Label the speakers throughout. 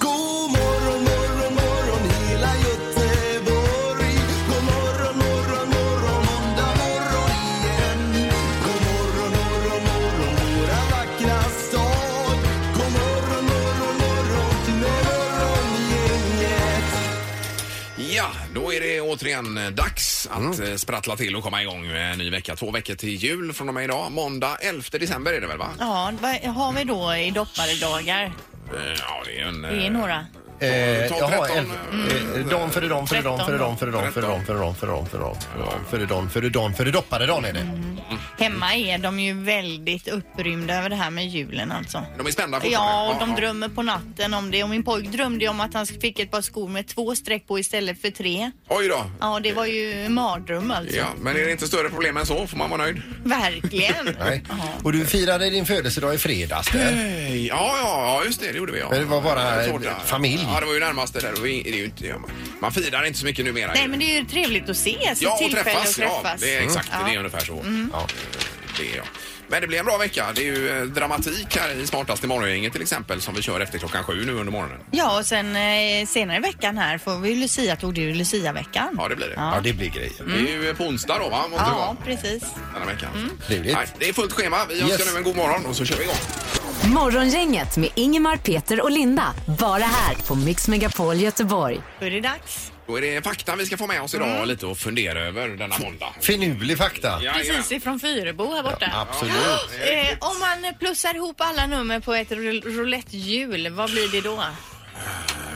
Speaker 1: God morgon morgon morgon hela Göteborg. God morgon morgon morgon måndag morgon igen. God morgon morgon morgon våra vackra stad. God morgon morgon morgon morgongänget.
Speaker 2: Ja, då är det återigen eh, dags att
Speaker 3: Mm.
Speaker 2: eh, sprattla till och komma igång med en ny vecka. Två veckor till jul från och med idag. Måndag 11 december är det väl va?
Speaker 4: Ja, vad har vi då i dopparedagar?
Speaker 2: Eh, Ja, det är en... eh,
Speaker 4: Det är några.
Speaker 3: Eh,
Speaker 2: Ta
Speaker 3: jaha,
Speaker 2: 13,
Speaker 3: elva.
Speaker 4: Mm.
Speaker 3: Eh, dam före dam före dam före dam före dam före dam före dam före dam före dam före dam före dam före dam före dopparedan är det.
Speaker 4: Mm. Hemma är de ju väldigt upprymda över det här med julen alltså.
Speaker 2: De är spända
Speaker 4: Ja, och de
Speaker 2: ja.
Speaker 4: drömmer på natten om det. Och min pojk drömde ju om att han fick ett par skor med två streck på istället för tre.
Speaker 2: Oj då.
Speaker 4: Ja, det var ju en mardröm alltså.
Speaker 2: Ja, men är det inte större problem än så får man vara nöjd.
Speaker 4: Verkligen.
Speaker 3: Nej. Och du firade din födelsedag i fredags
Speaker 4: Mm.
Speaker 3: där.
Speaker 2: Hej. Eh, Ja, ja, ja, just det, det gjorde vi. Ja.
Speaker 3: Mm. Men det var bara
Speaker 2: Tårta.
Speaker 3: en familj.
Speaker 2: Ja, det var ju närmast det där. Det var ju- det är ju inte, man firar inte så mycket numera.
Speaker 4: Nej,
Speaker 2: ju.
Speaker 4: men det är ju trevligt att ses.
Speaker 2: Ja,
Speaker 4: ett
Speaker 2: och
Speaker 4: tillfälle
Speaker 2: träffas.
Speaker 4: Att träffas.
Speaker 2: Ja, det är exakt.
Speaker 4: Mm.
Speaker 2: Det är
Speaker 4: Ja.
Speaker 2: ungefär så.
Speaker 3: Ja.
Speaker 2: Det är jag. Men det blir en bra vecka. Det är ju eh, dramatik här i Smartast i morgongänget till exempel som vi kör efter klockan sju nu under morgonen.
Speaker 4: Ja, och sen eh, senare i veckan här får vi ju Lucia-tåg. Det är ju Lucia-veckan.
Speaker 2: Ja, det blir det.
Speaker 3: Ja, det blir grejer.
Speaker 2: Det är ju eh, på onsdag då, va? Måste det vara
Speaker 4: Ja, Mm. precis.
Speaker 2: denna veckan.
Speaker 3: Trevligt.
Speaker 2: Nej, det är fullt schema. Vi önskar
Speaker 3: Yes.
Speaker 2: nu en god morgon och så kör vi igång.
Speaker 5: Morgongänget med Ingemar, Peter och Linda. Bara här på Mix Megapol Göteborg.
Speaker 4: Då är det dags.
Speaker 2: Då är det fakta vi ska få med oss
Speaker 4: Mm.
Speaker 2: idag och lite att fundera över denna måndag.
Speaker 3: Finurlig fakta.
Speaker 2: Jajamän.
Speaker 4: Precis ifrån Fyrebo här borta.
Speaker 3: Absolut.
Speaker 4: Eh, om man plussar ihop alla nummer på ett roul- roulettehjul, vad blir det då?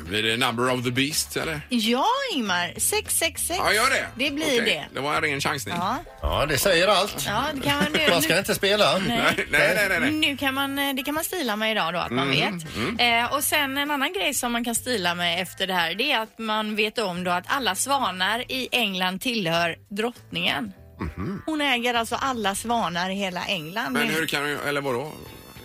Speaker 2: Blir det number of the beast eller?
Speaker 4: Ja, Ingmar. 666.
Speaker 2: Ja, gör det.
Speaker 4: Det blir
Speaker 2: Okej,
Speaker 4: det.
Speaker 2: Det var en ren chansning.
Speaker 4: Ja,
Speaker 3: Ja, det säger allt.
Speaker 4: ja det kan man nu.
Speaker 3: Man ska inte spela.
Speaker 2: Nej, nej, nej, nej.
Speaker 4: nu- Nu kan man, eh, det kan man stila med idag då, att man vet. Eh, och sen en annan grej som man kan stila med efter det här, det är att man vet om då att alla svanar i England tillhör drottningen. Hon äger alltså alla svanar i hela England.
Speaker 2: Men hur kan du, eller vadå?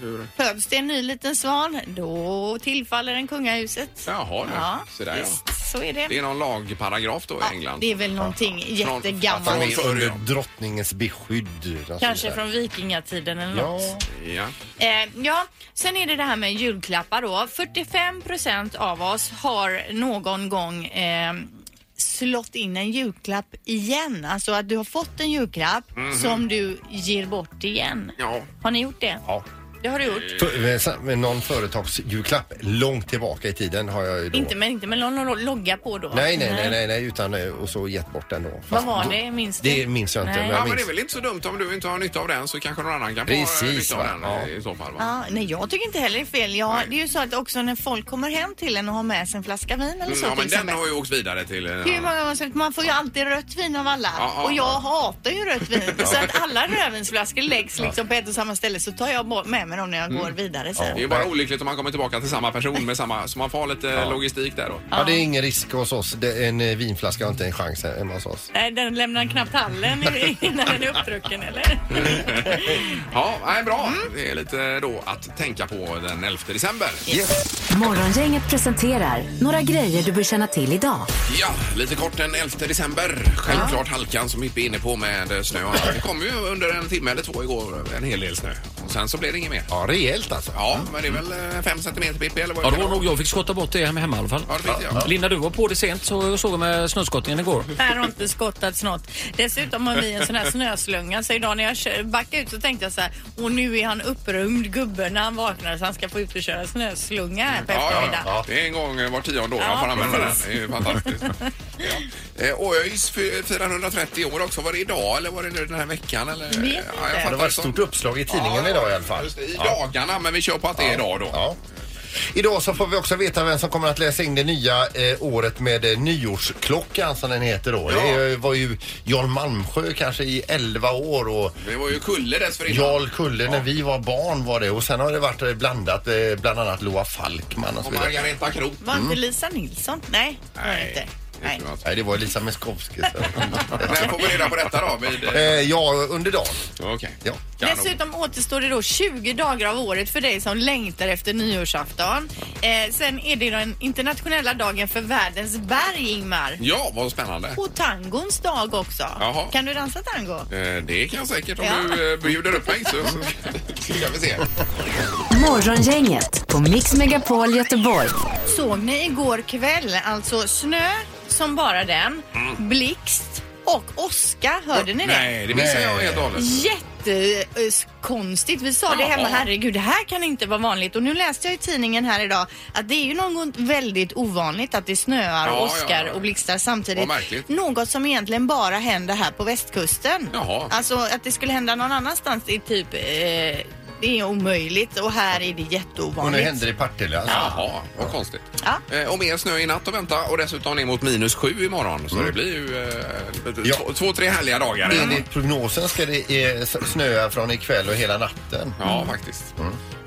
Speaker 2: Hur?
Speaker 4: Föds det en ny liten svan, då tillfaller den kungahuset.
Speaker 2: Jaha, du.
Speaker 4: Ja,
Speaker 2: Så där, ja.
Speaker 4: visst, så är det.
Speaker 2: Det är någon lagparagraf då i
Speaker 4: ja,
Speaker 2: England.
Speaker 4: det är väl någonting
Speaker 2: Från-
Speaker 4: jättegammalt.
Speaker 2: från-
Speaker 3: Familj alltså, under drottningens beskydd. Alltså
Speaker 4: Kanske
Speaker 3: där.
Speaker 4: från vikingatiden eller
Speaker 3: Ja.
Speaker 4: något.
Speaker 2: Ja.
Speaker 4: Eh, ja, sen är det det här med julklappar då. 45 procent av oss har någon gång eh, slått in en julklapp igen. Alltså att du har fått en julklapp som du ger bort igen.
Speaker 2: Mhm. ja. Eh,
Speaker 4: Har ni gjort det?
Speaker 3: Ja.
Speaker 4: Det har du gjort.
Speaker 3: För- med sa- Med någon företagsjulklapp långt tillbaka i tiden har jag ju då...
Speaker 4: Inte, men inte med någon lo- logga på då.
Speaker 3: Nej, nej, nej, nej, nej, utan eh, och så gett bort den då.
Speaker 4: Vad
Speaker 3: Fast
Speaker 4: var
Speaker 3: då-
Speaker 4: det? Minns du?
Speaker 3: Det minns jag inte.
Speaker 4: Nej.
Speaker 3: Men
Speaker 2: Ja,
Speaker 3: jag
Speaker 2: men det
Speaker 3: minns.
Speaker 2: är väl inte så dumt om du inte har nytta av den så kanske någon annan kan få eh,
Speaker 3: Precis,
Speaker 2: nytta av
Speaker 3: va?
Speaker 2: den
Speaker 3: Ja.
Speaker 2: eh, i så fall. Va?
Speaker 4: Ja, nej, jag tycker inte heller det är fel. Jag,
Speaker 2: Nej.
Speaker 4: det är ju så att också när folk kommer hem till en och har med sig en flaska vin eller
Speaker 2: Mm,
Speaker 4: så
Speaker 2: ja,
Speaker 4: till
Speaker 2: men den
Speaker 4: exempel.
Speaker 2: har ju åkt vidare till... eh,
Speaker 4: Hur många gånger som helst, man får ju alltid rött vin av alla.
Speaker 2: Ja, ja,
Speaker 4: och jag
Speaker 2: ja.
Speaker 4: hatar ju rött vin. Så att alla rödvinsflaskor läggs liksom på ett och samma ställe så tar jag bort- med mig dem när jag går
Speaker 2: Mm.
Speaker 4: vidare sen.
Speaker 2: Det är ju bara olyckligt om man kommer tillbaka till samma person med samma... Så man får ha lite eh, logistik där då.
Speaker 3: Ja, det är ingen risk hos oss. Det, en eh, vinflaska har inte en chans här hemma hos oss.
Speaker 4: Nej, den lämnar knappt hallen i- innan den är uppdrucken eller?
Speaker 2: Ja, nej, bra. Det är lite eh, då att tänka på den 11 december.
Speaker 5: Morgongänget presenterar några grejer du bör känna till idag.
Speaker 2: Ja, lite kort den 11 december. Självklart halkan som Mippe är inne på med eh, snö och annat. Det kom ju under en timme eller två igår eh, en hel del snö. Och sen så blev det inget mer.
Speaker 3: Ja, rejält alltså.
Speaker 2: Ja, men det är väl eh, fem centimeter Pippi eller vad
Speaker 6: Ja,
Speaker 2: är
Speaker 6: det var nog jag fick skotta bort det hemma i alla fall.
Speaker 2: Ja, det fick jag.
Speaker 6: Linda, du var på det sent så jag såg med snöskottningen igår.
Speaker 4: Här har inte skottats något. Dessutom har vi en sån här snöslunga så idag när jag kö- backade ut så tänkte jag så här och nu är han upprymd gubben när han vaknar så han ska få ut och köra snöslunga här på
Speaker 2: Ja, ja,
Speaker 4: eftermiddagen.
Speaker 2: ja. Det är en gång eh, var tionde år man får
Speaker 4: Ja,
Speaker 2: använda den.
Speaker 4: precis.
Speaker 2: Det är ju fantastiskt. ja. Eh, Och ÖIS fy- 430 år också. Var det idag eller var det nu den här veckan? Eller?
Speaker 4: Vet
Speaker 2: Ja,
Speaker 4: inte.
Speaker 2: jag fattar
Speaker 3: Det var ett
Speaker 2: som-
Speaker 3: stort uppslag i tidningen
Speaker 2: Ja,
Speaker 3: idag i alla fall.
Speaker 2: Just det, I
Speaker 3: Ja.
Speaker 2: dagarna, men vi kör på att det är idag då.
Speaker 3: Ja. Idag så får vi också veta vem som kommer att läsa in det nya eh, året med eh, nyårsklockan som den heter då.
Speaker 2: Ja.
Speaker 3: Det eh, var ju Jarl Malmsjö kanske i 11 år och
Speaker 2: Det var ju Kulle dessförinnan.
Speaker 3: Jarl Kulle när vi var barn var det och sen har det varit eh, blandat eh, bland annat Loa Falkman och så
Speaker 2: Och
Speaker 3: vidare.
Speaker 2: Margareta Kroth.
Speaker 4: Var inte Lisa Nilsson? Nej, det var det
Speaker 2: Mm. Nej.
Speaker 4: inte. Nej.
Speaker 2: Vet du
Speaker 3: Nej, det var Elisa Miskovsky.
Speaker 2: vad? När får vi reda på detta då? Vid,
Speaker 3: eh,
Speaker 2: eh,
Speaker 3: ja, under dagen.
Speaker 2: Okej.
Speaker 3: Ja.
Speaker 2: Kanon.
Speaker 4: Dessutom återstår det då 20 dagar av året för dig som längtar efter nyårsafton. Eh, sen är det den internationella dagen för världens berg, Ingmar.
Speaker 2: Ja, vad spännande.
Speaker 4: Och tangons dag också.
Speaker 2: Jaha.
Speaker 4: Kan du dansa tango?
Speaker 2: Eh, Det kan jag säkert om
Speaker 4: Ja.
Speaker 2: du eh, bjuder upp mig så så ska vi se.
Speaker 5: Morgongänget på Mix Megapol Göteborg.
Speaker 4: Såg ni igår kväll alltså snö som bara den, blixt och åska? Hörde ni det?
Speaker 2: Mm. Nej, det missar jag
Speaker 3: Nej.
Speaker 2: helt och hållet.
Speaker 4: Jättekonstigt. Vi sa det
Speaker 2: Ja.
Speaker 4: hemma, herregud det här kan inte vara vanligt. Och nu läste jag i tidningen här idag att det är ju något väldigt ovanligt att det snöar,
Speaker 2: Ja,
Speaker 4: och åskar
Speaker 2: ja, ja.
Speaker 4: och blixtar
Speaker 2: Vad
Speaker 4: samtidigt.
Speaker 2: märkligt.
Speaker 4: något som egentligen bara händer här på västkusten.
Speaker 2: Jaha.
Speaker 4: Alltså att det skulle hända någon annanstans är typ, eh, det är omöjligt och här är det
Speaker 3: Och nu
Speaker 4: jätteovanligt.
Speaker 3: händer det i Partille. Alltså.
Speaker 2: Jaha, vad konstigt.
Speaker 4: Ja.
Speaker 2: Eh, Och mer snö i natt att vänta och dessutom ner mot minus sju imorgon. Så det blir ju eh,
Speaker 3: Ja.
Speaker 2: två, två, tre härliga dagar.
Speaker 3: Enligt prognosen ska det eh, s- snöa från ikväll och hela natten.
Speaker 2: Ja, faktiskt.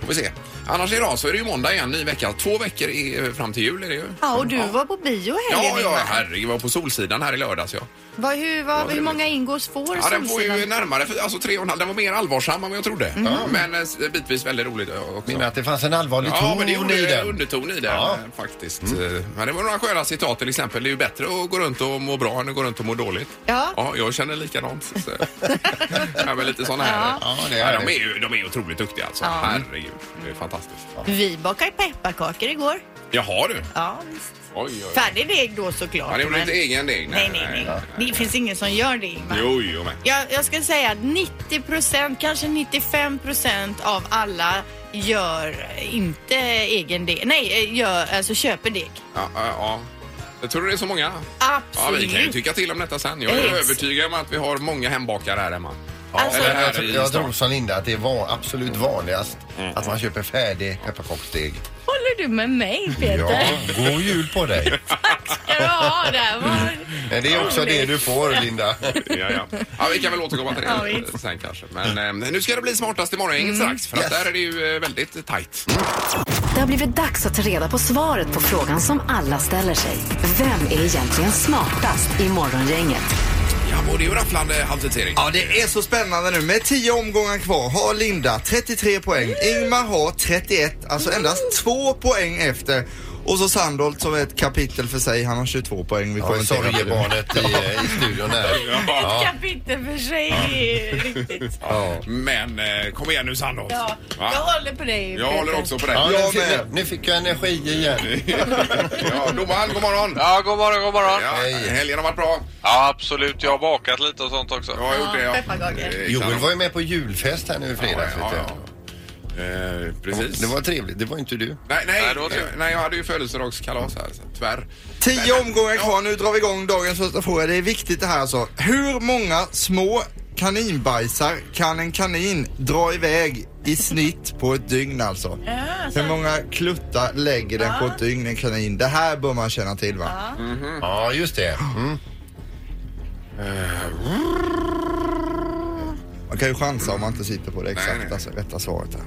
Speaker 2: Får vi se. Annars idag så är det ju måndag igen, ny vecka. Två veckor i, eh, fram till jul är det ju.
Speaker 4: Ja, och du var på bio i helgen
Speaker 2: Ja, ja,
Speaker 4: Ingmar.
Speaker 2: herregud. var på Solsidan här i lördags. Ja.
Speaker 4: Vad, hur, vad, hur
Speaker 2: det-
Speaker 4: många ingås får
Speaker 2: Ja, den var ju
Speaker 4: Solsidan? Mm.
Speaker 2: närmare, för- alltså tre och en halv. Den var mer allvarsam än vad jag trodde. Men eh, bitvis väldigt roligt eh, också.
Speaker 3: Men att det fanns en allvarlig
Speaker 2: Ja, men det
Speaker 3: ton
Speaker 2: gjorde
Speaker 3: i
Speaker 2: ju
Speaker 3: den.
Speaker 2: underton i det
Speaker 3: Ja. Mm.
Speaker 2: eh, faktiskt. Eh, Men det var några sköna citat till exempel. Det är ju bättre att gå runt och må bra än att gå runt och må dåligt.
Speaker 4: Ja.
Speaker 2: Ja, jag känner likadant. Så. ja, men lite sådana här.
Speaker 3: Ja, det är
Speaker 2: Ja, de,
Speaker 3: det.
Speaker 2: är ju, de är ju otroligt duktiga alltså.
Speaker 4: Ja.
Speaker 2: Herregud, det är fantastiskt.
Speaker 4: Vi bakade pepparkakor igår.
Speaker 2: Jaha du.
Speaker 4: Ja, visst.
Speaker 2: Oj, oj, oj.
Speaker 4: Färdig deg då såklart.
Speaker 2: Ja, det gjorde
Speaker 4: men-
Speaker 2: inte egen deg.
Speaker 4: Nej, nej, nej. Det finns ingen som gör det, Ingmar.
Speaker 2: Jo, jo, men.
Speaker 4: Jag, jag ska säga att 90 procent, kanske 95 procent av alla gör inte egen deg. Nej, eh, gör, alltså köper deg.
Speaker 2: Ja, ja, ja. Jag tror det är så många. Ja,
Speaker 4: Absolut.
Speaker 2: vi kan ju tycka till om detta sen. Jag är
Speaker 4: Yes.
Speaker 2: övertygad om att vi har många hembakare här hemma. Ja,
Speaker 4: Alltså-
Speaker 2: eller
Speaker 3: Jag,
Speaker 2: här
Speaker 3: tror-
Speaker 2: i
Speaker 3: jag
Speaker 2: stan. Mm.
Speaker 3: tror som Linda att det är van, absolut vanligast att man köper färdig pepparkaksdeg.
Speaker 4: Håller du med mig, Peter?
Speaker 3: Ja, god jul på dig.
Speaker 4: Ska du ha det? Vad-
Speaker 3: Men det är också det du får, Linda.
Speaker 2: Ja, ja. ja, vi kan väl återkomma till
Speaker 4: Ja,
Speaker 2: det
Speaker 4: visst. Mm.
Speaker 2: sen kanske. Men eh, nu ska det bli smartast i morgon strax för att
Speaker 3: Yes.
Speaker 2: där är det ju eh, väldigt Mm. tajt.
Speaker 5: Det har blivit dags att ta reda på svaret på frågan som alla ställer sig. Vem är egentligen smartast i morgongänget?
Speaker 2: Ja, och det är ju rafflande eh, halvtidsering.
Speaker 1: Ja, det är så spännande nu. Med 10 omgångar kvar har Linda 33 poäng. Ingmar har 31, alltså endast två poäng efter. Och så Sandholt som är ett kapitel för sig. Han har 22 poäng. Vi
Speaker 3: Ja,
Speaker 1: kommenterar det.
Speaker 3: sorgebarnet i, eh, i studion där.
Speaker 2: Ja.
Speaker 4: Kapitel för sig, det är riktigt.
Speaker 2: Men eh, kom igen nu Sandholt.
Speaker 4: Ja,
Speaker 2: Va?
Speaker 4: jag håller på dig,
Speaker 2: Jag håller också på dig.
Speaker 3: Ja, nu,
Speaker 1: Jag
Speaker 3: fick,
Speaker 1: med.
Speaker 3: nu fick jag energi igen.
Speaker 2: Ja, domaren, god morgon.
Speaker 7: Ja, god morgon, god morgon.
Speaker 2: Ja,
Speaker 3: Hej.
Speaker 2: helgen har varit bra.
Speaker 7: Ja, absolut. Jag har bakat lite och sånt också.
Speaker 2: Jag har gjort det.
Speaker 4: Ja,
Speaker 2: Ja.
Speaker 4: pepparkakor.
Speaker 2: Eh,
Speaker 3: Joel var ju med på julfest här nu i fredags.
Speaker 2: Ja,
Speaker 3: vet
Speaker 2: ja,
Speaker 3: jag.
Speaker 2: ja. Eh, precis.
Speaker 3: Det var trevligt. Det var inte du.
Speaker 2: Nej, nej,
Speaker 7: Nej, det var
Speaker 2: eh,
Speaker 7: trevligt.
Speaker 2: nej, jag hade ju födelsedagskalas här, så tyvärr.
Speaker 1: 10 omgångar kvar. Nu drar vi igång dagens första fråga. Det är viktigt det här alltså. Hur många små kaninbajsar kan en kanin dra iväg i snitt på ett dygn alltså? Hur många kluttar lägger den på ett dygn en kanin? Det här bör man känna till va?
Speaker 3: Ja, just det. Mm.
Speaker 1: Man kan ju chansa om man inte sitter på det
Speaker 2: nej.
Speaker 1: exakta rätta svaret här.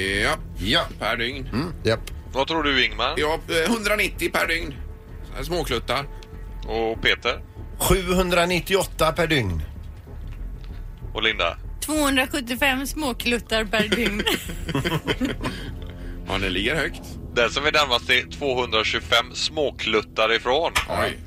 Speaker 2: Ja,
Speaker 3: Ja.
Speaker 2: per dygn.
Speaker 1: Japp.
Speaker 7: Vad tror du Ingmar?
Speaker 2: Ja, eh, 190 per dygn. Så här Småkluttar.
Speaker 7: Och Peter?
Speaker 3: 798 per dygn.
Speaker 7: Och Linda?
Speaker 4: 275 små kluttar per dygn.
Speaker 2: Ja, den ligger högt.
Speaker 7: Den som är närmast är 225 småkluttar ifrån.
Speaker 2: Oj.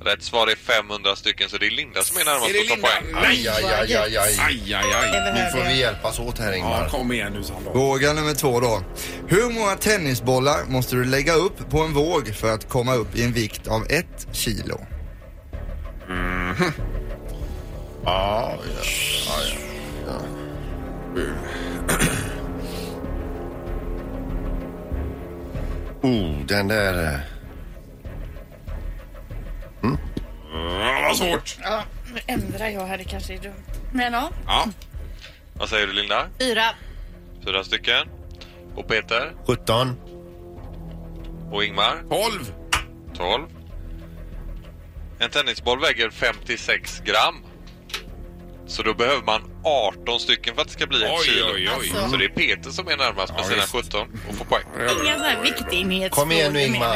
Speaker 7: Rätt svar är 500 stycken, så det är Linda som är närmast
Speaker 2: Är det
Speaker 7: att ta
Speaker 2: Linda?
Speaker 7: poäng.
Speaker 2: Nej!
Speaker 3: Aj, aj, aj, aj, aj.
Speaker 2: Aj, aj, aj.
Speaker 3: Nu får vi hjälpas åt här,
Speaker 2: Ja,
Speaker 3: Ingmar.
Speaker 2: kom igen nu Sandra.
Speaker 1: Fråga nummer två då. Hur många tennisbollar måste du lägga upp på en våg för att komma upp i en vikt av ett kilo?
Speaker 3: Ja, ja, ja, ja. Oh, den där... eh,
Speaker 2: Ja, vad svårt.
Speaker 4: Ja, nu ändrar jag här, det kanske är dumt. Men ja,
Speaker 2: Ja,
Speaker 7: Vad säger du Linda?
Speaker 4: fyra.
Speaker 7: Fyra stycken. Och Peter?
Speaker 3: 17.
Speaker 7: Och Ingmar?
Speaker 2: 12.
Speaker 7: 12. En tennisboll väger 56 gram. Så då behöver man 18 stycken för att det ska bli ett
Speaker 2: Oj,
Speaker 7: kilo.
Speaker 2: oj, oj.
Speaker 4: Alltså,
Speaker 7: Så det är Peter som är närmast med
Speaker 2: Ja,
Speaker 7: sina
Speaker 2: visst.
Speaker 7: 17 och får poäng.
Speaker 4: Inga sådana här viktighetsfrågor.
Speaker 3: Kom igen nu,
Speaker 4: menar
Speaker 3: Ingmar.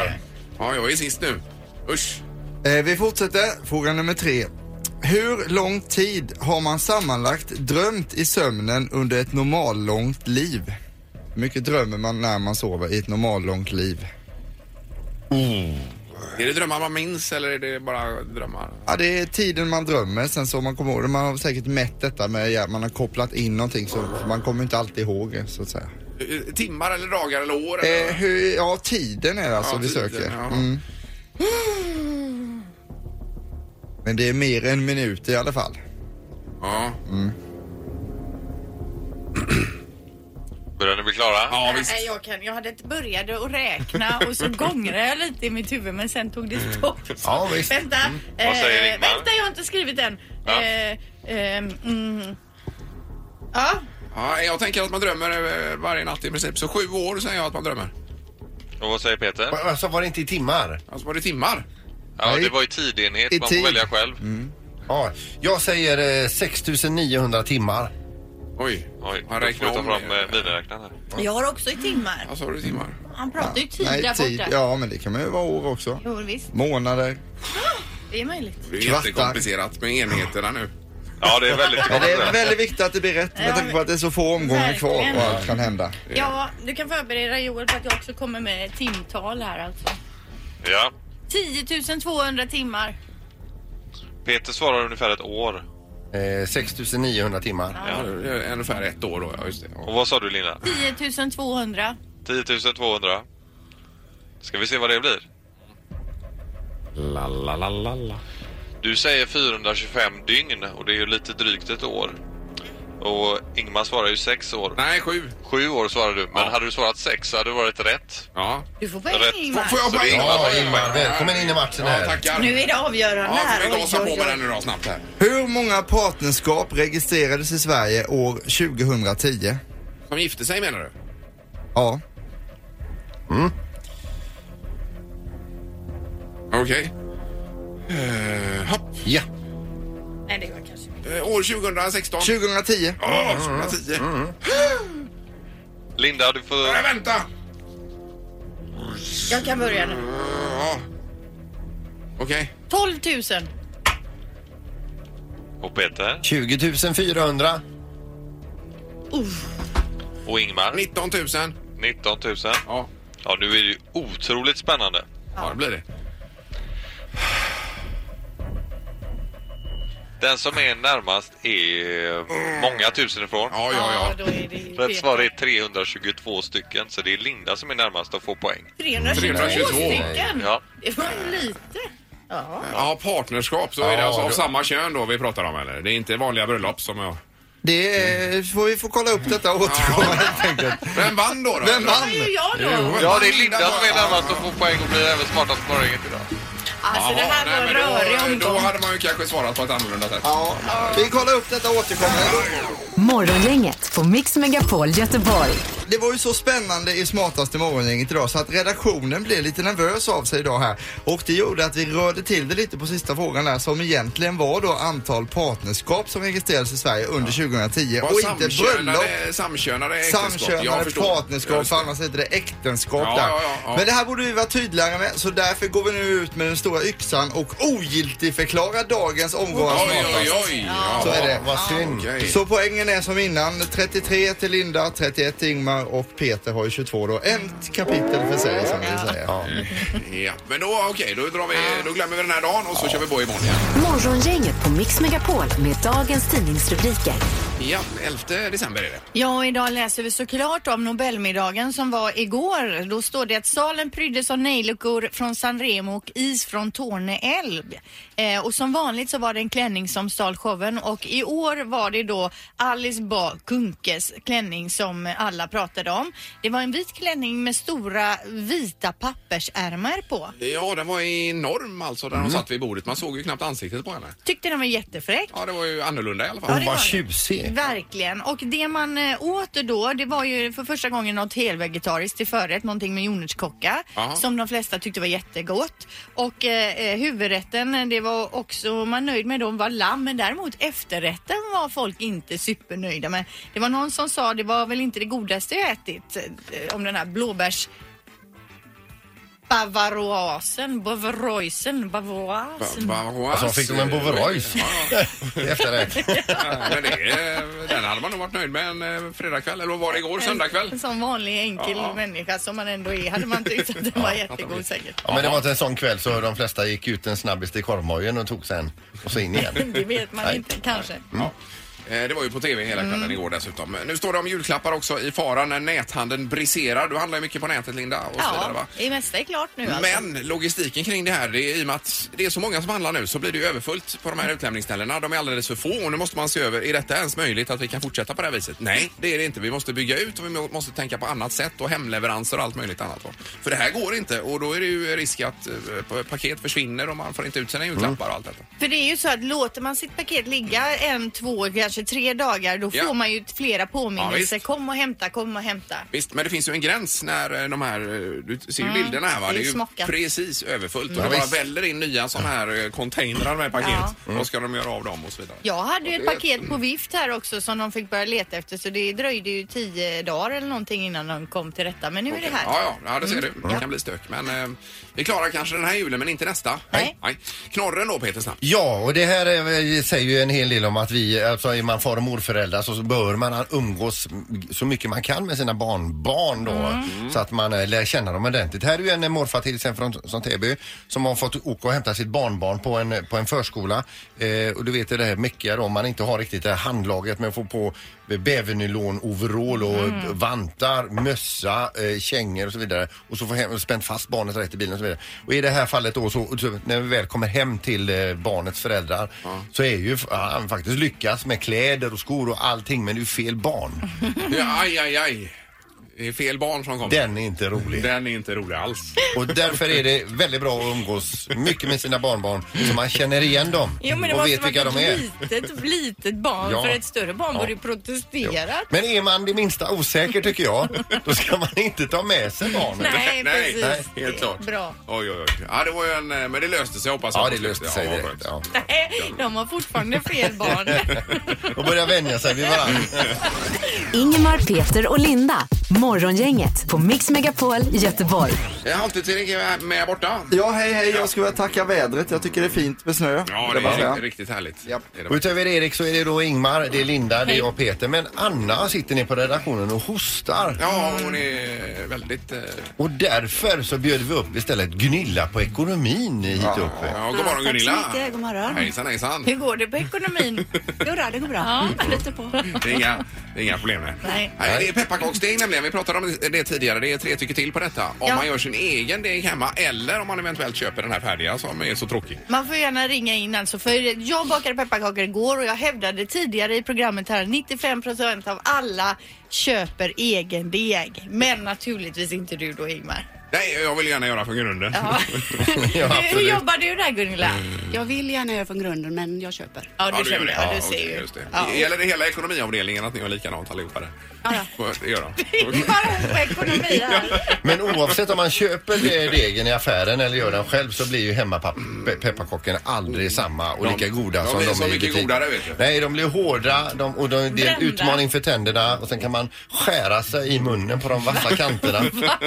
Speaker 4: jag.
Speaker 2: Ja, jag är sist nu. Usch.
Speaker 1: Eh, vi fortsätter. Fråga nummer tre. Hur lång tid har man sammanlagt drömt i sömnen under ett normallångt liv? Hur mycket drömmer man när man sover i ett normallångt liv?
Speaker 2: Är det drömmar man minns eller är det bara drömmar?
Speaker 1: Ja, det är tiden man drömmer, sen så man kommer ihåg det. Man har säkert mätt detta med, ja, man har kopplat in någonting så man kommer inte alltid ihåg det, så att säga.
Speaker 2: Eh, Timmar eller dagar eller år? Eller?
Speaker 1: Eh, hur, ja, tiden är det alltså
Speaker 2: Ja,
Speaker 1: vi
Speaker 2: tiden,
Speaker 1: söker.
Speaker 2: ja.
Speaker 1: Mm. Men det är mer än minut i alla fall.
Speaker 2: Ja.
Speaker 7: Börjar ni bli klara?
Speaker 2: ja, visst.
Speaker 4: Nej, jag, kan, jag hade inte började att räkna och så gångrade jag lite i mitt huvud men sen tog det stopp. Så,
Speaker 3: Ja, visst.
Speaker 4: Vänta, Eh,
Speaker 7: Vad säger Ingmar?
Speaker 4: vänta jag har inte skrivit den.
Speaker 7: Ja.
Speaker 4: Eh, ehm, mm. Ja,
Speaker 2: Ja, jag tänker att man drömmer eh, varje natt i princip. Så sju år säger jag att man drömmer.
Speaker 7: Och vad säger Peter?
Speaker 3: Va- Alltså var det inte i timmar?
Speaker 2: Alltså var det timmar?
Speaker 7: Ja,
Speaker 1: Nej.
Speaker 7: det var ju tidenhet.
Speaker 1: I
Speaker 7: Man
Speaker 1: tid. Mm.
Speaker 7: får välja själv.
Speaker 3: Ja, jag säger eh, 6900 timmar.
Speaker 2: Oj,
Speaker 7: Oj,
Speaker 2: han
Speaker 7: jag får
Speaker 2: räknar
Speaker 7: ta
Speaker 2: om.
Speaker 7: fram eh,
Speaker 2: eh,
Speaker 7: miniräknaren här.
Speaker 4: jag har också i timmar.
Speaker 2: Ja, så har du timmar.
Speaker 4: Han pratar ju tid där
Speaker 1: Nej,
Speaker 4: borta.
Speaker 1: tid. Ja, men det kan ju vara år också.
Speaker 4: Jo, visst,
Speaker 1: Månader.
Speaker 4: det är möjligt.
Speaker 2: Det är
Speaker 1: Kvartar.
Speaker 2: jättekomplicerat med enheterna nu.
Speaker 7: Ja, det är väldigt
Speaker 1: Men det är
Speaker 7: komplicerat.
Speaker 1: väldigt viktigt att det blir rätt med tanke på att det är så få omgångar kvar
Speaker 4: Verkligen.
Speaker 1: och allt kan hända.
Speaker 4: Ja, du kan förbereda Joel för att jag också kommer med timtal här alltså.
Speaker 7: Ja.
Speaker 4: 10 200 timmar.
Speaker 7: Peter svarar ungefär ett år.
Speaker 3: Eh, 6900 timmar.
Speaker 2: Ja, det är ungefär ett år då, ja just det.
Speaker 7: Och
Speaker 2: Ja.
Speaker 7: vad sa du Linda?
Speaker 4: 10 200.
Speaker 7: 10 200. Ska vi se vad det blir?
Speaker 2: La, la, la, la, la.
Speaker 7: Du säger 425 dygn och det är ju lite drygt ett år. Och Ingmar svarar ju sex år.
Speaker 2: Nej, sju.
Speaker 7: Sju år svarar du, men hade du svarat sex så hade det varit rätt.
Speaker 2: Ja.
Speaker 4: Du får poäng
Speaker 7: Rätt.
Speaker 4: Ingmar.
Speaker 2: Får jag
Speaker 7: Så det
Speaker 2: poäng?
Speaker 7: är Ingmar
Speaker 3: Ja,
Speaker 7: på
Speaker 3: Ingmar, välkommen in i matchen
Speaker 2: Ja,
Speaker 3: här.
Speaker 2: tackar.
Speaker 4: Nu är det avgörande
Speaker 2: Ja,
Speaker 4: här.
Speaker 2: får vi
Speaker 4: Oj,
Speaker 2: gasa på
Speaker 4: oj,
Speaker 2: med
Speaker 4: oj.
Speaker 2: den nu då snabbt här.
Speaker 1: Hur många partnerskap registrerades i Sverige år 2010?
Speaker 2: Som gifte sig menar du?
Speaker 1: Ja.
Speaker 2: Okej. Eh, hopp.
Speaker 3: Ja.
Speaker 4: Nej, det var kanske inte.
Speaker 2: Eh, år 2016.
Speaker 1: 2010.
Speaker 2: Ja, 2010.
Speaker 7: Linda, du får...
Speaker 2: Nej, vänta!
Speaker 4: Jag kan börja nu.
Speaker 2: Ja. Okej.
Speaker 4: 12 000.
Speaker 7: Och Peter.
Speaker 3: 20 400.
Speaker 7: Och Ingmar.
Speaker 2: 19 000.
Speaker 7: 19 000.
Speaker 2: Ja.
Speaker 7: Ja, nu är det ju otroligt spännande.
Speaker 2: ja, det blir det.
Speaker 7: Den som är närmast är eh,
Speaker 1: Mm.
Speaker 7: många tusen ifrån.
Speaker 2: Ja, ja, ja.
Speaker 4: då är det
Speaker 7: Rätt svar är 322 stycken, så det är Linda som är närmast att få poäng.
Speaker 4: 322
Speaker 2: 322.
Speaker 4: stycken.
Speaker 7: Ja.
Speaker 4: Det var ju lite. Ja.
Speaker 2: Ja, partnerskap. Så är det alltså av samma kön då vi pratar om eller? Det är inte vanliga bröllop som jag...
Speaker 1: Det är, får vi får kolla upp detta och återkomma helt enkelt.
Speaker 2: Vem vann då? då?
Speaker 1: Vem vann?
Speaker 4: Det var ju jag då.
Speaker 2: Jo,
Speaker 7: Ja, det är Linda som är närmast att få poäng och blir även smartast på morgonen idag.
Speaker 4: Alltså det här var
Speaker 2: nej,
Speaker 4: en
Speaker 2: men
Speaker 4: rörig
Speaker 2: då, då
Speaker 4: omgång.
Speaker 2: hade man ju kanske svarat på ett annorlunda sätt.
Speaker 1: Ja, vi kollar upp detta och återkommer.
Speaker 5: Morgongänget på Mix Megapol Göteborg.
Speaker 1: Det var ju så spännande i smartaste morgongänget idag så att redaktionen blev lite nervös av sig idag här. Och det gjorde att vi rörde till det lite på sista frågan där som egentligen var då antal partnerskap som registrerades i Sverige under 2010
Speaker 2: Var
Speaker 1: och inte bröllop.
Speaker 2: samkönade, samkönade äktenskap. Jag
Speaker 1: Samkönade
Speaker 2: förstår.
Speaker 1: partnerskap,
Speaker 2: Just
Speaker 1: för
Speaker 2: det.
Speaker 1: annars heter det äktenskap
Speaker 2: Ja,
Speaker 1: där.
Speaker 2: ja, ja, ja.
Speaker 1: Men det här borde vi vara tydligare med, så därför går vi nu ut med den stora yxan och ogiltigförklarar dagens omgång. av
Speaker 2: Oj,
Speaker 1: Smartast.
Speaker 2: oj, oj. Ja.
Speaker 1: Så är det.
Speaker 3: Vad synd.
Speaker 2: Okej.
Speaker 1: Så poängen är som innan, 33 till Linda, 31 till Ingmar och Peter har ju 22 då. Ett kapitel för sig som vi säger.
Speaker 2: Ja, men då, okej, då, drar vi, då glömmer vi den här dagen och så kör vi på imorgon igen.
Speaker 5: Morgongänget på Mix Megapol med dagens tidningsrubriker.
Speaker 2: Ja, 11 december är det.
Speaker 4: Ja, och idag läser vi såklart om Nobelmiddagen som var igår. Då står det att salen pryddes av nejlikor från Sanremo och is från Torne älv. Eh, och som vanligt så var det en klänning som stal showen och i år var det då Alice Bah Kunkes klänning som alla pratade om. Det var en vit klänning med stora vita pappersärmar på.
Speaker 2: Ja, den var enorm alltså där hon satt vid bordet. Man såg ju knappt ansiktet på henne.
Speaker 4: Tyckte den var jättefräck.
Speaker 2: Ja, det var ju annorlunda i alla fall.
Speaker 4: Ja,
Speaker 3: Hon
Speaker 4: det
Speaker 3: var
Speaker 4: var det.
Speaker 3: tjusig.
Speaker 4: Verkligen. Och det man eh, åt då, det var ju för första gången något helvegetariskt till förrätt, någonting med jordnötskocka
Speaker 2: Aha.
Speaker 4: som de flesta tyckte var jättegott. Och eh, eh, huvudrätten, eh, det var också man nöjd med då var lamm, men däremot efterrätten var folk inte supernöjda med. Det var någon som sa det var väl inte det godaste jag ätit eh, om den här blåbärs Bavaroasen, Bavaroisen, Bavaroasen.
Speaker 2: Bavarois.
Speaker 3: Alltså, fick de en Boverois? Efterrätt.
Speaker 2: Ja, men det, eh, den hade man nog varit nöjd med en eh, fredagkväll, eller vad var det igår? Söndagkväll?
Speaker 4: En sån vanlig enkel
Speaker 2: Ja.
Speaker 4: människa som man ändå är hade man tyckt att den var jättegod
Speaker 2: blir-
Speaker 4: säkert.
Speaker 3: Ja, men det var inte en sån kväll så de flesta gick ut en snabbis till korvmojen och tog sen och så in igen.
Speaker 4: Det vet man
Speaker 3: Nej.
Speaker 4: inte kanske.
Speaker 2: Ja. Eh, Det var ju på tv hela kvällen
Speaker 4: Mm.
Speaker 2: igår dessutom. Nu står det om julklappar också i fara när näthandeln briserar. Du handlar ju mycket på nätet Linda och så vidare
Speaker 4: Ja,
Speaker 2: va?
Speaker 4: det mesta är klart nu alltså.
Speaker 2: Men logistiken kring det här, det är, i och med att det är så många som handlar nu så blir det ju överfullt på de här utlämningsställena. De är alldeles för få och nu måste man se över, är detta ens möjligt att vi kan fortsätta på det här viset? Nej, det är det inte. Vi måste bygga ut och vi må- måste tänka på annat sätt och hemleveranser och allt möjligt annat. va. För det här går inte och då är det ju risk att eh, p- paket försvinner och man får inte ut sina julklappar och allt detta.
Speaker 4: För det är ju så att låter man sitt paket ligga en, två, kanske tre dagar då
Speaker 2: Ja.
Speaker 4: får man ju flera
Speaker 2: Ja,
Speaker 4: påminnelser.
Speaker 2: visst.
Speaker 4: kom och hämta, kom och hämta.
Speaker 2: Visst, men det finns ju en gräns när eh, de här, eh, du ser ju bilderna här va?
Speaker 4: Mm, det är
Speaker 2: Det är ju
Speaker 4: smockat. Mm.
Speaker 2: precis överfullt och
Speaker 3: Ja,
Speaker 2: det bara
Speaker 3: visst.
Speaker 2: väller in nya sådana här eh, containrar med paket. Vad ska de göra av dem och så vidare.
Speaker 4: Jag hade ju ett paket på vift här också som de fick börja leta efter så det dröjde ju tio dagar eller någonting innan de kom till rätta. Men nu är det här. Mm.
Speaker 2: Ja, ja, ja, det ser du. Det kan bli stök. Men eh, vi klarar kanske den här julen, men inte nästa.
Speaker 4: Nej.
Speaker 2: Knorren då, Peter, snabbt.
Speaker 3: Ja, och det här är, säger ju en hel del om att vi, alltså är man far och morföräldrar så bör man umgås så mycket man kan med sina barnbarn då. Så att man eh, lär känna dem ordentligt. Här är ju en morfar till exempel från, från Täby som har fått åka och hämta sitt barnbarn på en, på en förskola. Eh, och du vet ju det här mycket då, om man inte har riktigt det här handlaget med att få på bävernylonoverall och
Speaker 4: Mm.
Speaker 3: vantar, mössa, eh, kängor och så vidare. Och så får hem, och spänt fast barnet rätt i bilen och så vidare. Och i det här fallet då så, så när vi väl kommer hem till eh, barnets föräldrar så är ju f- han faktiskt lyckas med kläder och skor och allting men det är ju fel barn.
Speaker 4: Mm.
Speaker 2: Ja, aj, aj, aj. Det är fel barn som kommer.
Speaker 3: Den är inte rolig.
Speaker 2: Den är inte rolig alls.
Speaker 3: Och därför är det väldigt bra att umgås mycket med sina barnbarn så man känner igen dem
Speaker 4: Jo, men det
Speaker 3: och
Speaker 4: måste
Speaker 3: vet vilka
Speaker 4: vara
Speaker 3: de
Speaker 4: ett
Speaker 3: är.
Speaker 4: litet, litet barn.
Speaker 3: Ja.
Speaker 4: För ett större barn
Speaker 3: Ja.
Speaker 4: borde ju protestera.
Speaker 3: Men är man det minsta osäker tycker jag, då ska man inte ta med sig barnet.
Speaker 4: Nej,
Speaker 2: Nej,
Speaker 4: precis.
Speaker 2: nej,
Speaker 4: Det är
Speaker 2: helt klart.
Speaker 4: Bra.
Speaker 2: Oj, oj, oj. Ja, det var ju en, eh, men det löste sig hoppas jag.
Speaker 3: Ja, det löste sig
Speaker 2: vad
Speaker 3: direkt.
Speaker 2: skönt.
Speaker 3: Ja.
Speaker 4: Nej, de har fortfarande fel barn.
Speaker 3: Och börja vänja sig vid varandra.
Speaker 5: Ingemar, Peter och Linda. Morgongänget på Mix Megapol Göteborg.
Speaker 2: Eh, Halvtids-Erik är med borta.
Speaker 1: Ja, hej, hej. Jag skulle vilja tacka vädret. Jag tycker det är fint med snö.
Speaker 2: Ja, det
Speaker 1: vill jag
Speaker 2: är
Speaker 1: säga.
Speaker 2: riktigt, riktigt härligt.
Speaker 1: Japp.
Speaker 2: Det är
Speaker 3: Och
Speaker 2: det.
Speaker 3: utöver Erik så är det då Ingmar, det är Linda, det är jag och Peter. Men Anna sitter ni på redaktionen och hostar.
Speaker 2: Ja, hon är väldigt... Eh,
Speaker 3: Och därför så bjöd vi upp istället Gnilla på ekonomin hit uppe.
Speaker 2: ja, god morgon
Speaker 8: tack så
Speaker 2: Gunilla.
Speaker 8: mycket. God morgon.
Speaker 2: Hejsan, hejsan.
Speaker 4: Hur går det på ekonomin?
Speaker 8: Jo, då, det går bra. Lite på.
Speaker 2: Det är inga, det är inga problem med.
Speaker 4: Nej.
Speaker 2: det är pepparkaksdeg nämligen. Vi pratade om det tidigare. Det är tre tycker till på detta. Om
Speaker 4: Ja.
Speaker 2: man gör sin egen deg hemma eller om man eventuellt köper den här färdiga som är så tråkig.
Speaker 4: Man får gärna ringa in alltså för jag bakade pepparkakor igår och jag hävdade tidigare i programmet här 95% av alla köper egen deg. Men naturligtvis inte du då Ingmar.
Speaker 2: Nej, jag vill gärna göra från grunden.
Speaker 4: Ja.
Speaker 3: Ja,
Speaker 4: Hur
Speaker 3: absolut.
Speaker 4: jobbar du där Gunilla?
Speaker 8: Jag vill gärna göra från grunden, men jag köper.
Speaker 4: Ja,
Speaker 2: Mm. Ja, du gör
Speaker 4: du, köper,
Speaker 2: det.
Speaker 4: ja, du
Speaker 2: Ja,
Speaker 4: ser
Speaker 2: okej,
Speaker 4: ju.
Speaker 2: just det.
Speaker 4: Ja.
Speaker 2: Gäller det hela ekonomiavdelningen att ni har likadant allihopa? där?
Speaker 8: Ja,
Speaker 2: Det gör de.
Speaker 4: Det är bara hon på ekonomi här.
Speaker 3: Men oavsett om man köper det- degen i affären eller gör den själv så blir ju hemmapepparkakorna aldrig samma och
Speaker 2: De-
Speaker 3: lika goda
Speaker 2: de
Speaker 3: som
Speaker 2: blir
Speaker 3: de
Speaker 2: så
Speaker 3: är i
Speaker 2: mycket
Speaker 3: butiken.
Speaker 2: godare, vet du.
Speaker 3: Nej, de blir hårda de, och de, det är en
Speaker 4: Brända.
Speaker 3: utmaning för tänderna och sen kan man skära sig i munnen på de vassa kanterna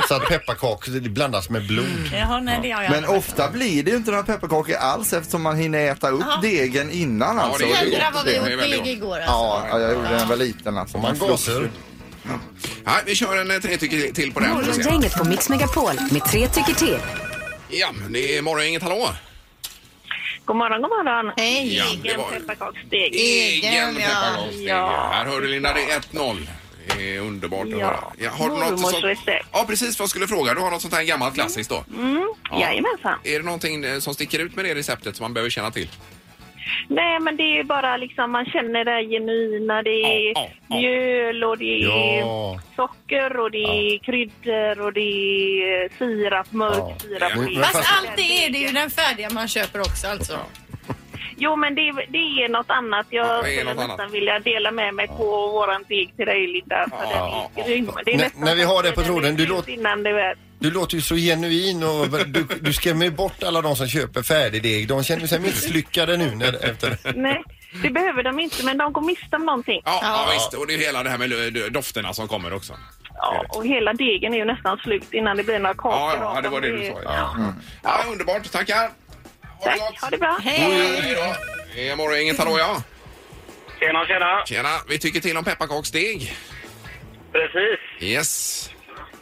Speaker 3: så att pepparkakor det blandas med blod.
Speaker 4: Jaha, nej det har jag
Speaker 1: Men ofta blir det ju inte några pepparkakor alls eftersom man hinner äta upp degen innan alltså.
Speaker 2: det är
Speaker 4: Jädrar vad vi
Speaker 2: Det är
Speaker 4: åt
Speaker 2: väldigt
Speaker 4: deg
Speaker 2: gott.
Speaker 4: igår alltså.
Speaker 1: Ja, ja, jag gjorde den väl liten alltså.
Speaker 3: Om man gasar
Speaker 2: Ja, vi kör en eh, tre tycker till på den. får vi se.
Speaker 5: Morgongänget på Mix Megapol med tre tycker till.
Speaker 2: Ja, det är morgon, inget hallå.
Speaker 9: God morgon, god morgon.
Speaker 4: Hej!
Speaker 2: Ja, det
Speaker 9: Egen
Speaker 2: var-
Speaker 9: pepparkaksdeg.
Speaker 2: Egen
Speaker 4: Egen, ja.
Speaker 2: pepparkaksdeg.
Speaker 9: Ja.
Speaker 2: Här hör du Linda, det är 1-0. Det är underbart att
Speaker 9: Ja.
Speaker 2: höra. Ja, har du något
Speaker 9: Mormors
Speaker 2: sånt...
Speaker 9: recept.
Speaker 2: Ja, precis vad jag skulle fråga. Du har något sånt här gammalt klassiskt då?
Speaker 9: Mm, Jajamensan.
Speaker 2: Är det någonting eh, som sticker ut med det receptet som man behöver känna till?
Speaker 9: Nej, men det är ju bara liksom, man känner det här genuina. Det är
Speaker 2: Ja, ja, ja.
Speaker 9: mjöl och det är
Speaker 3: Ja.
Speaker 9: socker och det är kryddor och det är sirap, mörk
Speaker 3: Ja.
Speaker 9: sirap.
Speaker 3: Men-
Speaker 9: Det är-
Speaker 4: Fast allt det är det ju den färdiga man köper också alltså.
Speaker 9: Jo, men det, det är något annat.
Speaker 2: Ja,
Speaker 9: Jag
Speaker 2: det är
Speaker 9: skulle
Speaker 2: något annat.
Speaker 9: nästan vilja dela med mig på våran deg till dig, Linda. För
Speaker 2: Ja,
Speaker 9: den
Speaker 2: ja, ja.
Speaker 9: är grym. Det är
Speaker 3: När-
Speaker 9: nästan
Speaker 3: när vi har det
Speaker 9: som
Speaker 3: på
Speaker 9: den
Speaker 3: tråden, du
Speaker 9: ut
Speaker 3: låter-
Speaker 9: Innan du är...
Speaker 3: Du låter ju så genuin och du, du skrämmer ju bort alla de som köper färdig deg. De känner
Speaker 2: Mm.
Speaker 3: sig misslyckade nu när, efter
Speaker 9: Nej, det behöver de inte, men de går miste om någonting.
Speaker 2: Ja, ja. visst. Och det är hela det här med eh, dofterna som kommer också.
Speaker 9: Ja, och hela degen är ju nästan slut innan det blir några kakor
Speaker 2: Ja, ja,
Speaker 9: av
Speaker 2: det var
Speaker 9: dem.
Speaker 2: det du sa. Ja. Ja, underbart, tackar.
Speaker 9: Tack, ha det bra.
Speaker 2: Hej då. Det är morgon, inget hallå ja.
Speaker 10: Tjena, tjena.
Speaker 2: Tjena, vi tycker till om pepparkaksdeg.
Speaker 10: Precis.
Speaker 2: Yes.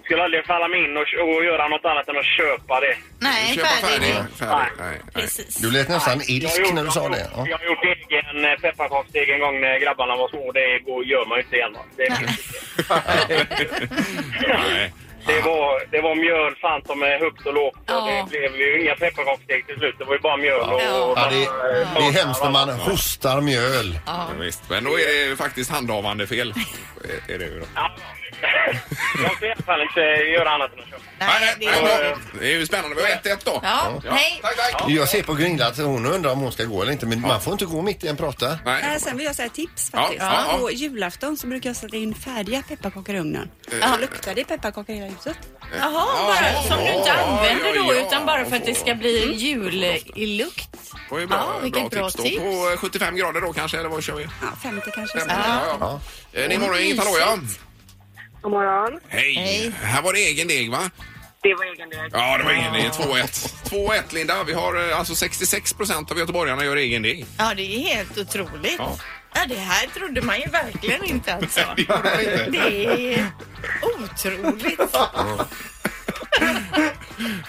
Speaker 10: Skulle aldrig falla mig in och, och göra något annat än att köpa det.
Speaker 4: Nej,
Speaker 10: Köpa
Speaker 4: färdig.
Speaker 10: färdig.
Speaker 2: Färdig. Nej.
Speaker 4: Precis.
Speaker 3: Du lät nästan ilsk när du sa det. Ja.
Speaker 10: Jag har gjort egen eh, pepparkaksdeg en gång när grabbarna var små. Det går, gör man ju inte igen. va? Det, det, var, det var mjöl fan som eh, högt och lågt. Och Det blev ju inga pepparkaksdeg till slut. Det var ju bara mjöl och... och
Speaker 3: Ja, det, det är hemskt när man hostar mjöl.
Speaker 2: Ja, visst. Men då är det ju faktiskt handhavande fel. Är- Är det ju då.
Speaker 10: Jag ska i alla fall inte eh, göra annat än att köpa.
Speaker 2: Nej, nej, nej, det är ju spännande. Vi har 1-1 då.
Speaker 4: Ja, hej.
Speaker 2: Tack, tack.
Speaker 3: Jag ser på Gunilla att hon undrar om hon ska gå eller inte, men man får inte gå mitt i en prata.
Speaker 8: Eh, sen vill jag säga tips
Speaker 3: Ja,
Speaker 8: faktiskt.
Speaker 3: ja, ja.
Speaker 8: På julafton så brukar jag sätta in färdiga pepparkakor i ugnen.
Speaker 4: Ja.
Speaker 8: Så luktar det pepparkakor i hela huset.
Speaker 4: Jaha, bara, som du inte använder då utan bara för att det ska
Speaker 2: Mm.
Speaker 4: bli jul i lukt.
Speaker 2: Det var ju bra,
Speaker 4: Ja, vilket
Speaker 2: bra
Speaker 4: bra
Speaker 2: tips.
Speaker 4: tips.
Speaker 2: Då på eh, 75 grader då kanske, eller vad kör vi?
Speaker 8: Ja, 50 kanske.
Speaker 2: Ja. Ja, ja. Eh, Det är morgon, inget hallå ja.
Speaker 9: God morgon.
Speaker 2: Hej. Här var det egen deg va?
Speaker 9: Det var egen del.
Speaker 2: Ja, det var egen deg. 2-1. 2-1 Linda. Vi har eh, alltså 66 procent av göteborgarna gör egen deg.
Speaker 4: Ja, det är helt otroligt. Ja. det här trodde man ju verkligen inte alltså.
Speaker 2: Det gjorde man inte.
Speaker 4: Det är otroligt.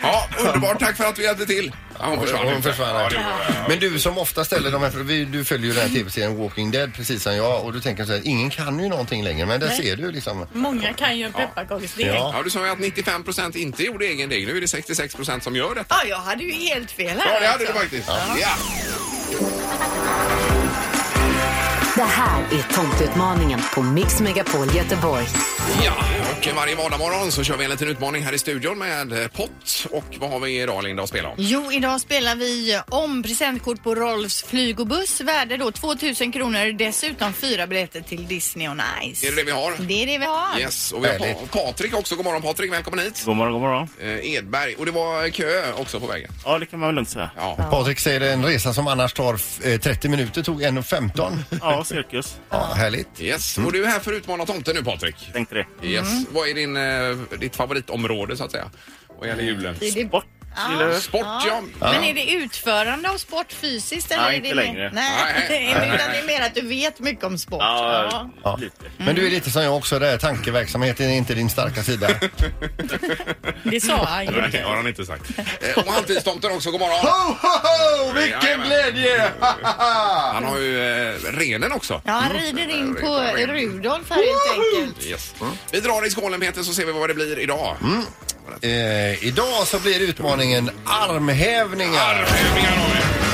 Speaker 2: Ja, underbart. Tack för att vi hjälpte till. Ja, hon försvann.
Speaker 3: Hon försvann.
Speaker 2: Ja, det gjorde hon.
Speaker 3: Men du som ofta ställer de här vi- du följer ju den här tv-serien Walking Dead precis som jag och du tänker så här, ingen kan ju någonting längre men där
Speaker 4: Nej.
Speaker 3: ser du liksom.
Speaker 4: Många kan ju en pepparkaksdeg.
Speaker 2: Ja.
Speaker 4: Ja.
Speaker 2: du sa ju att 95 procent inte gjorde egen deg. Nu är det 66 procent som gör det.
Speaker 4: jag hade ju helt fel här
Speaker 2: Ja, det hade
Speaker 4: alltså.
Speaker 2: du faktiskt.
Speaker 4: Ja.
Speaker 2: Ja.
Speaker 5: Det här är Tomteutmaningen på Mix Megapol Göteborg.
Speaker 2: Ja, och varje vardagsmorgon så kör vi en liten utmaning här i studion med eh, pott. Och vad har vi idag Linda att spela om?
Speaker 4: Jo, idag spelar vi om presentkort på Rolfs flyg och buss. Värde då 2000 kronor. Dessutom fyra biljetter till Disney on Ice.
Speaker 2: Är det det vi har?
Speaker 4: Det är det vi har.
Speaker 2: Yes, och vi har pa- Patrik också. God morgon Patrik, välkommen hit.
Speaker 11: God morgon, god morgon.
Speaker 2: Eh, Edberg, och det var kö också på vägen.
Speaker 11: Ja, det kan man väl lugnt säga.
Speaker 2: Ja,
Speaker 3: Patrik säger en resa som annars tar eh, 30 minuter tog 1.15.
Speaker 11: ja cirkus.
Speaker 3: Ja, härligt.
Speaker 2: Yes, och du är här för att utmana tomten nu Patrik.
Speaker 11: Tänkte det.
Speaker 2: Yes, vad är din, eh, ditt favoritområde så att säga? Vad gäller julen?
Speaker 4: Är det... Sport.
Speaker 2: gillar du? Sport, ja.
Speaker 4: Men
Speaker 2: Ja.
Speaker 4: är det utförande av sport fysiskt? Eller
Speaker 2: Nej,
Speaker 4: är det
Speaker 2: inte
Speaker 4: mer-
Speaker 2: längre.
Speaker 4: Nej,
Speaker 2: Nej.
Speaker 4: utan det är mer att du vet mycket om sport. Ja.
Speaker 3: Ja. Men du är lite som jag också där, tankeverksamheten är inte din starka sida.
Speaker 4: Det sa han ju.
Speaker 2: Nej, det har han inte sagt. Eh, Och halvtidstomten också, god morgon.
Speaker 3: Ho, ho, ho!
Speaker 2: Jajamän.
Speaker 3: Vilken glädje!
Speaker 2: Han har ju eh, renen också.
Speaker 4: Ja, han rider in på Rudolf här helt enkelt.
Speaker 2: Yes. Vi drar i skålen Peter så ser vi vad det blir idag.
Speaker 3: Mm. Eh, idag så blir utmaningen armhävningar.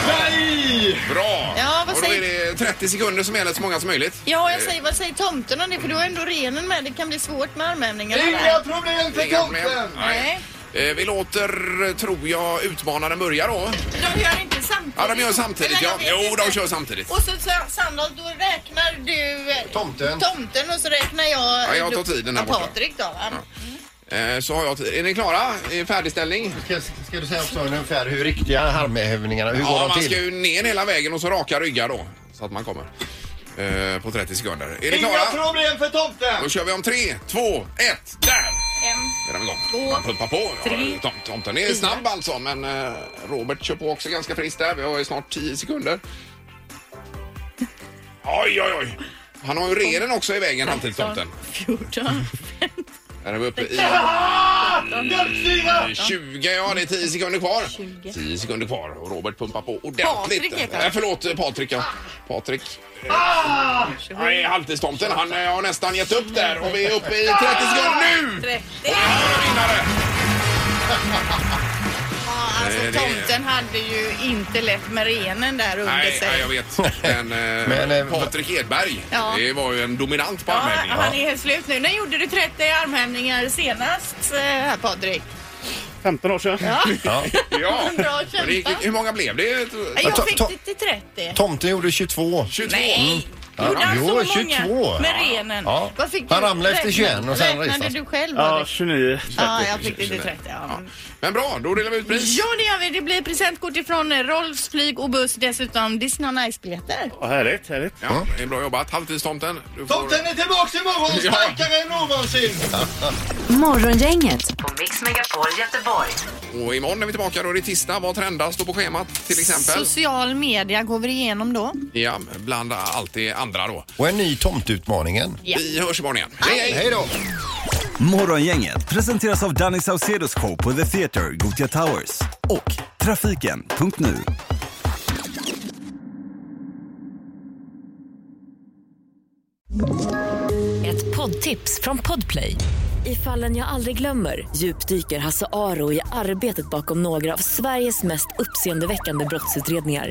Speaker 2: Nej! Bra!
Speaker 4: Ja, vad
Speaker 2: och då är
Speaker 4: säger-
Speaker 2: det 30 sekunder som gäller så många som möjligt.
Speaker 4: Ja, jag säger, vad säger tomten om det? För du har ändå renen med. Det kan bli svårt med armhävningarna.
Speaker 3: Inga problem för
Speaker 2: Inga problem.
Speaker 3: tomten!
Speaker 4: Nej.
Speaker 2: Eh, Vi låter, tror jag, utmanaren börja då.
Speaker 4: De gör inte samtidigt.
Speaker 2: Ja, de gör samtidigt.
Speaker 4: Eller,
Speaker 2: Ja.
Speaker 4: jag vet
Speaker 2: Jo,
Speaker 4: inte.
Speaker 2: de kör samtidigt.
Speaker 4: Och så sa- Sandholt, då räknar du eh,
Speaker 3: Tomten.
Speaker 4: tomten och så räknar jag...
Speaker 2: Ja, jag tar
Speaker 4: då-
Speaker 2: tiden här
Speaker 4: ja,
Speaker 2: borta.
Speaker 4: Patrik då. va?
Speaker 2: Eh, Så har jag tid. Är ni klara? Är färdigställning?
Speaker 3: Ska, ska du säga också ungefär hur riktiga armhävningarna, hur går
Speaker 2: Ja,
Speaker 3: de
Speaker 2: man ska
Speaker 3: till?
Speaker 2: ju ner hela vägen och så raka ryggar då. Så att man kommer. Eh, På 30 sekunder. Är ni klara?
Speaker 3: problem för tomten!
Speaker 2: Då kör vi om tre, två, ett, där!
Speaker 4: En.
Speaker 2: Är den igång?
Speaker 4: Två,
Speaker 2: Man pumpar på. Ja,
Speaker 4: tre,
Speaker 2: tom- Tomten är
Speaker 4: fyra.
Speaker 2: snabb alltså, men eh, Robert kör på också ganska friskt där. Vi har ju snart 10 sekunder. Oj, oj, oj! Han har ju renen också i vägen, halvtidstomten.
Speaker 4: 14.
Speaker 2: Där är vi uppe i... i 20, ja det är 10 sekunder kvar. 10 sekunder kvar och Robert pumpar på ordentligt.
Speaker 4: Patrik heter han.
Speaker 2: Nej, förlåt eh, Patrik. Ja. Patrik. Nej, halvtidstomten han eh, har nästan gett upp där och vi är uppe i 30 sekunder nu!
Speaker 4: 30.
Speaker 2: Eh, det-
Speaker 4: Alltså, tomten hade ju inte lätt med renen där under
Speaker 2: Nej,
Speaker 4: sig.
Speaker 2: nej, jag vet. Men, eh, Patrik Edberg,
Speaker 4: Ja.
Speaker 2: det var ju en dominant på
Speaker 4: Ja,
Speaker 2: armhävningar.
Speaker 4: han är helt slut nu. När gjorde du 30 armhävningar senast, eh, här, Patrik?
Speaker 11: 15 år sedan.
Speaker 4: Ja.
Speaker 3: Ja.
Speaker 2: Ja.
Speaker 4: Bra
Speaker 2: Men det gick-
Speaker 4: kämpat.
Speaker 2: Hur många blev det?
Speaker 4: Jag fick det till 30.
Speaker 3: Tomten gjorde 22.
Speaker 4: Nej, Gjorde han
Speaker 3: Mm. Jo,
Speaker 4: så många
Speaker 3: 22.
Speaker 4: med renen?
Speaker 3: Ja.
Speaker 4: Vad fick
Speaker 3: Han
Speaker 4: du?
Speaker 3: ramlade efter
Speaker 4: Räkna-
Speaker 3: 21 och sen
Speaker 4: Räknade
Speaker 3: reste
Speaker 4: du själv?
Speaker 10: Ja,
Speaker 4: Robert?
Speaker 10: 29.
Speaker 4: Ja, jag fick lite 30. Ja.
Speaker 2: Men bra, då delar vi ut pris.
Speaker 4: Ja, det gör vi. Det blir presentkort ifrån eh, Rolfs flyg och buss. Dessutom Disney on Ice-biljetter.
Speaker 10: Ja, härligt, härligt.
Speaker 2: Ja, det är bra jobbat. Halvtidstomten. du får-
Speaker 4: Tomten
Speaker 3: är tillbaka imorgon
Speaker 2: Ja.
Speaker 3: starkare än någonsin.
Speaker 12: Morgongänget
Speaker 2: på Mix Megapol Göteborg. Och imorgon är vi tillbaka. Då är det tisdag. Vad trendar står på schemat till exempel?
Speaker 4: Social media går vi igenom då.
Speaker 2: Ja, bland allt det andra då.
Speaker 3: Och en ny tomtutmaningen.
Speaker 4: Ja.
Speaker 2: Vi hörs imorgon igen. Hej, hej!
Speaker 3: Hej då!
Speaker 1: Morgongänget presenteras av Danny Saucedos show på The Theatre, Gothia Towers och Trafiken.nu.
Speaker 5: Ett poddtips från Podplay. I fallen jag aldrig glömmer djupdyker Hasse Aro i arbetet bakom några av Sveriges mest uppseendeväckande brottsutredningar.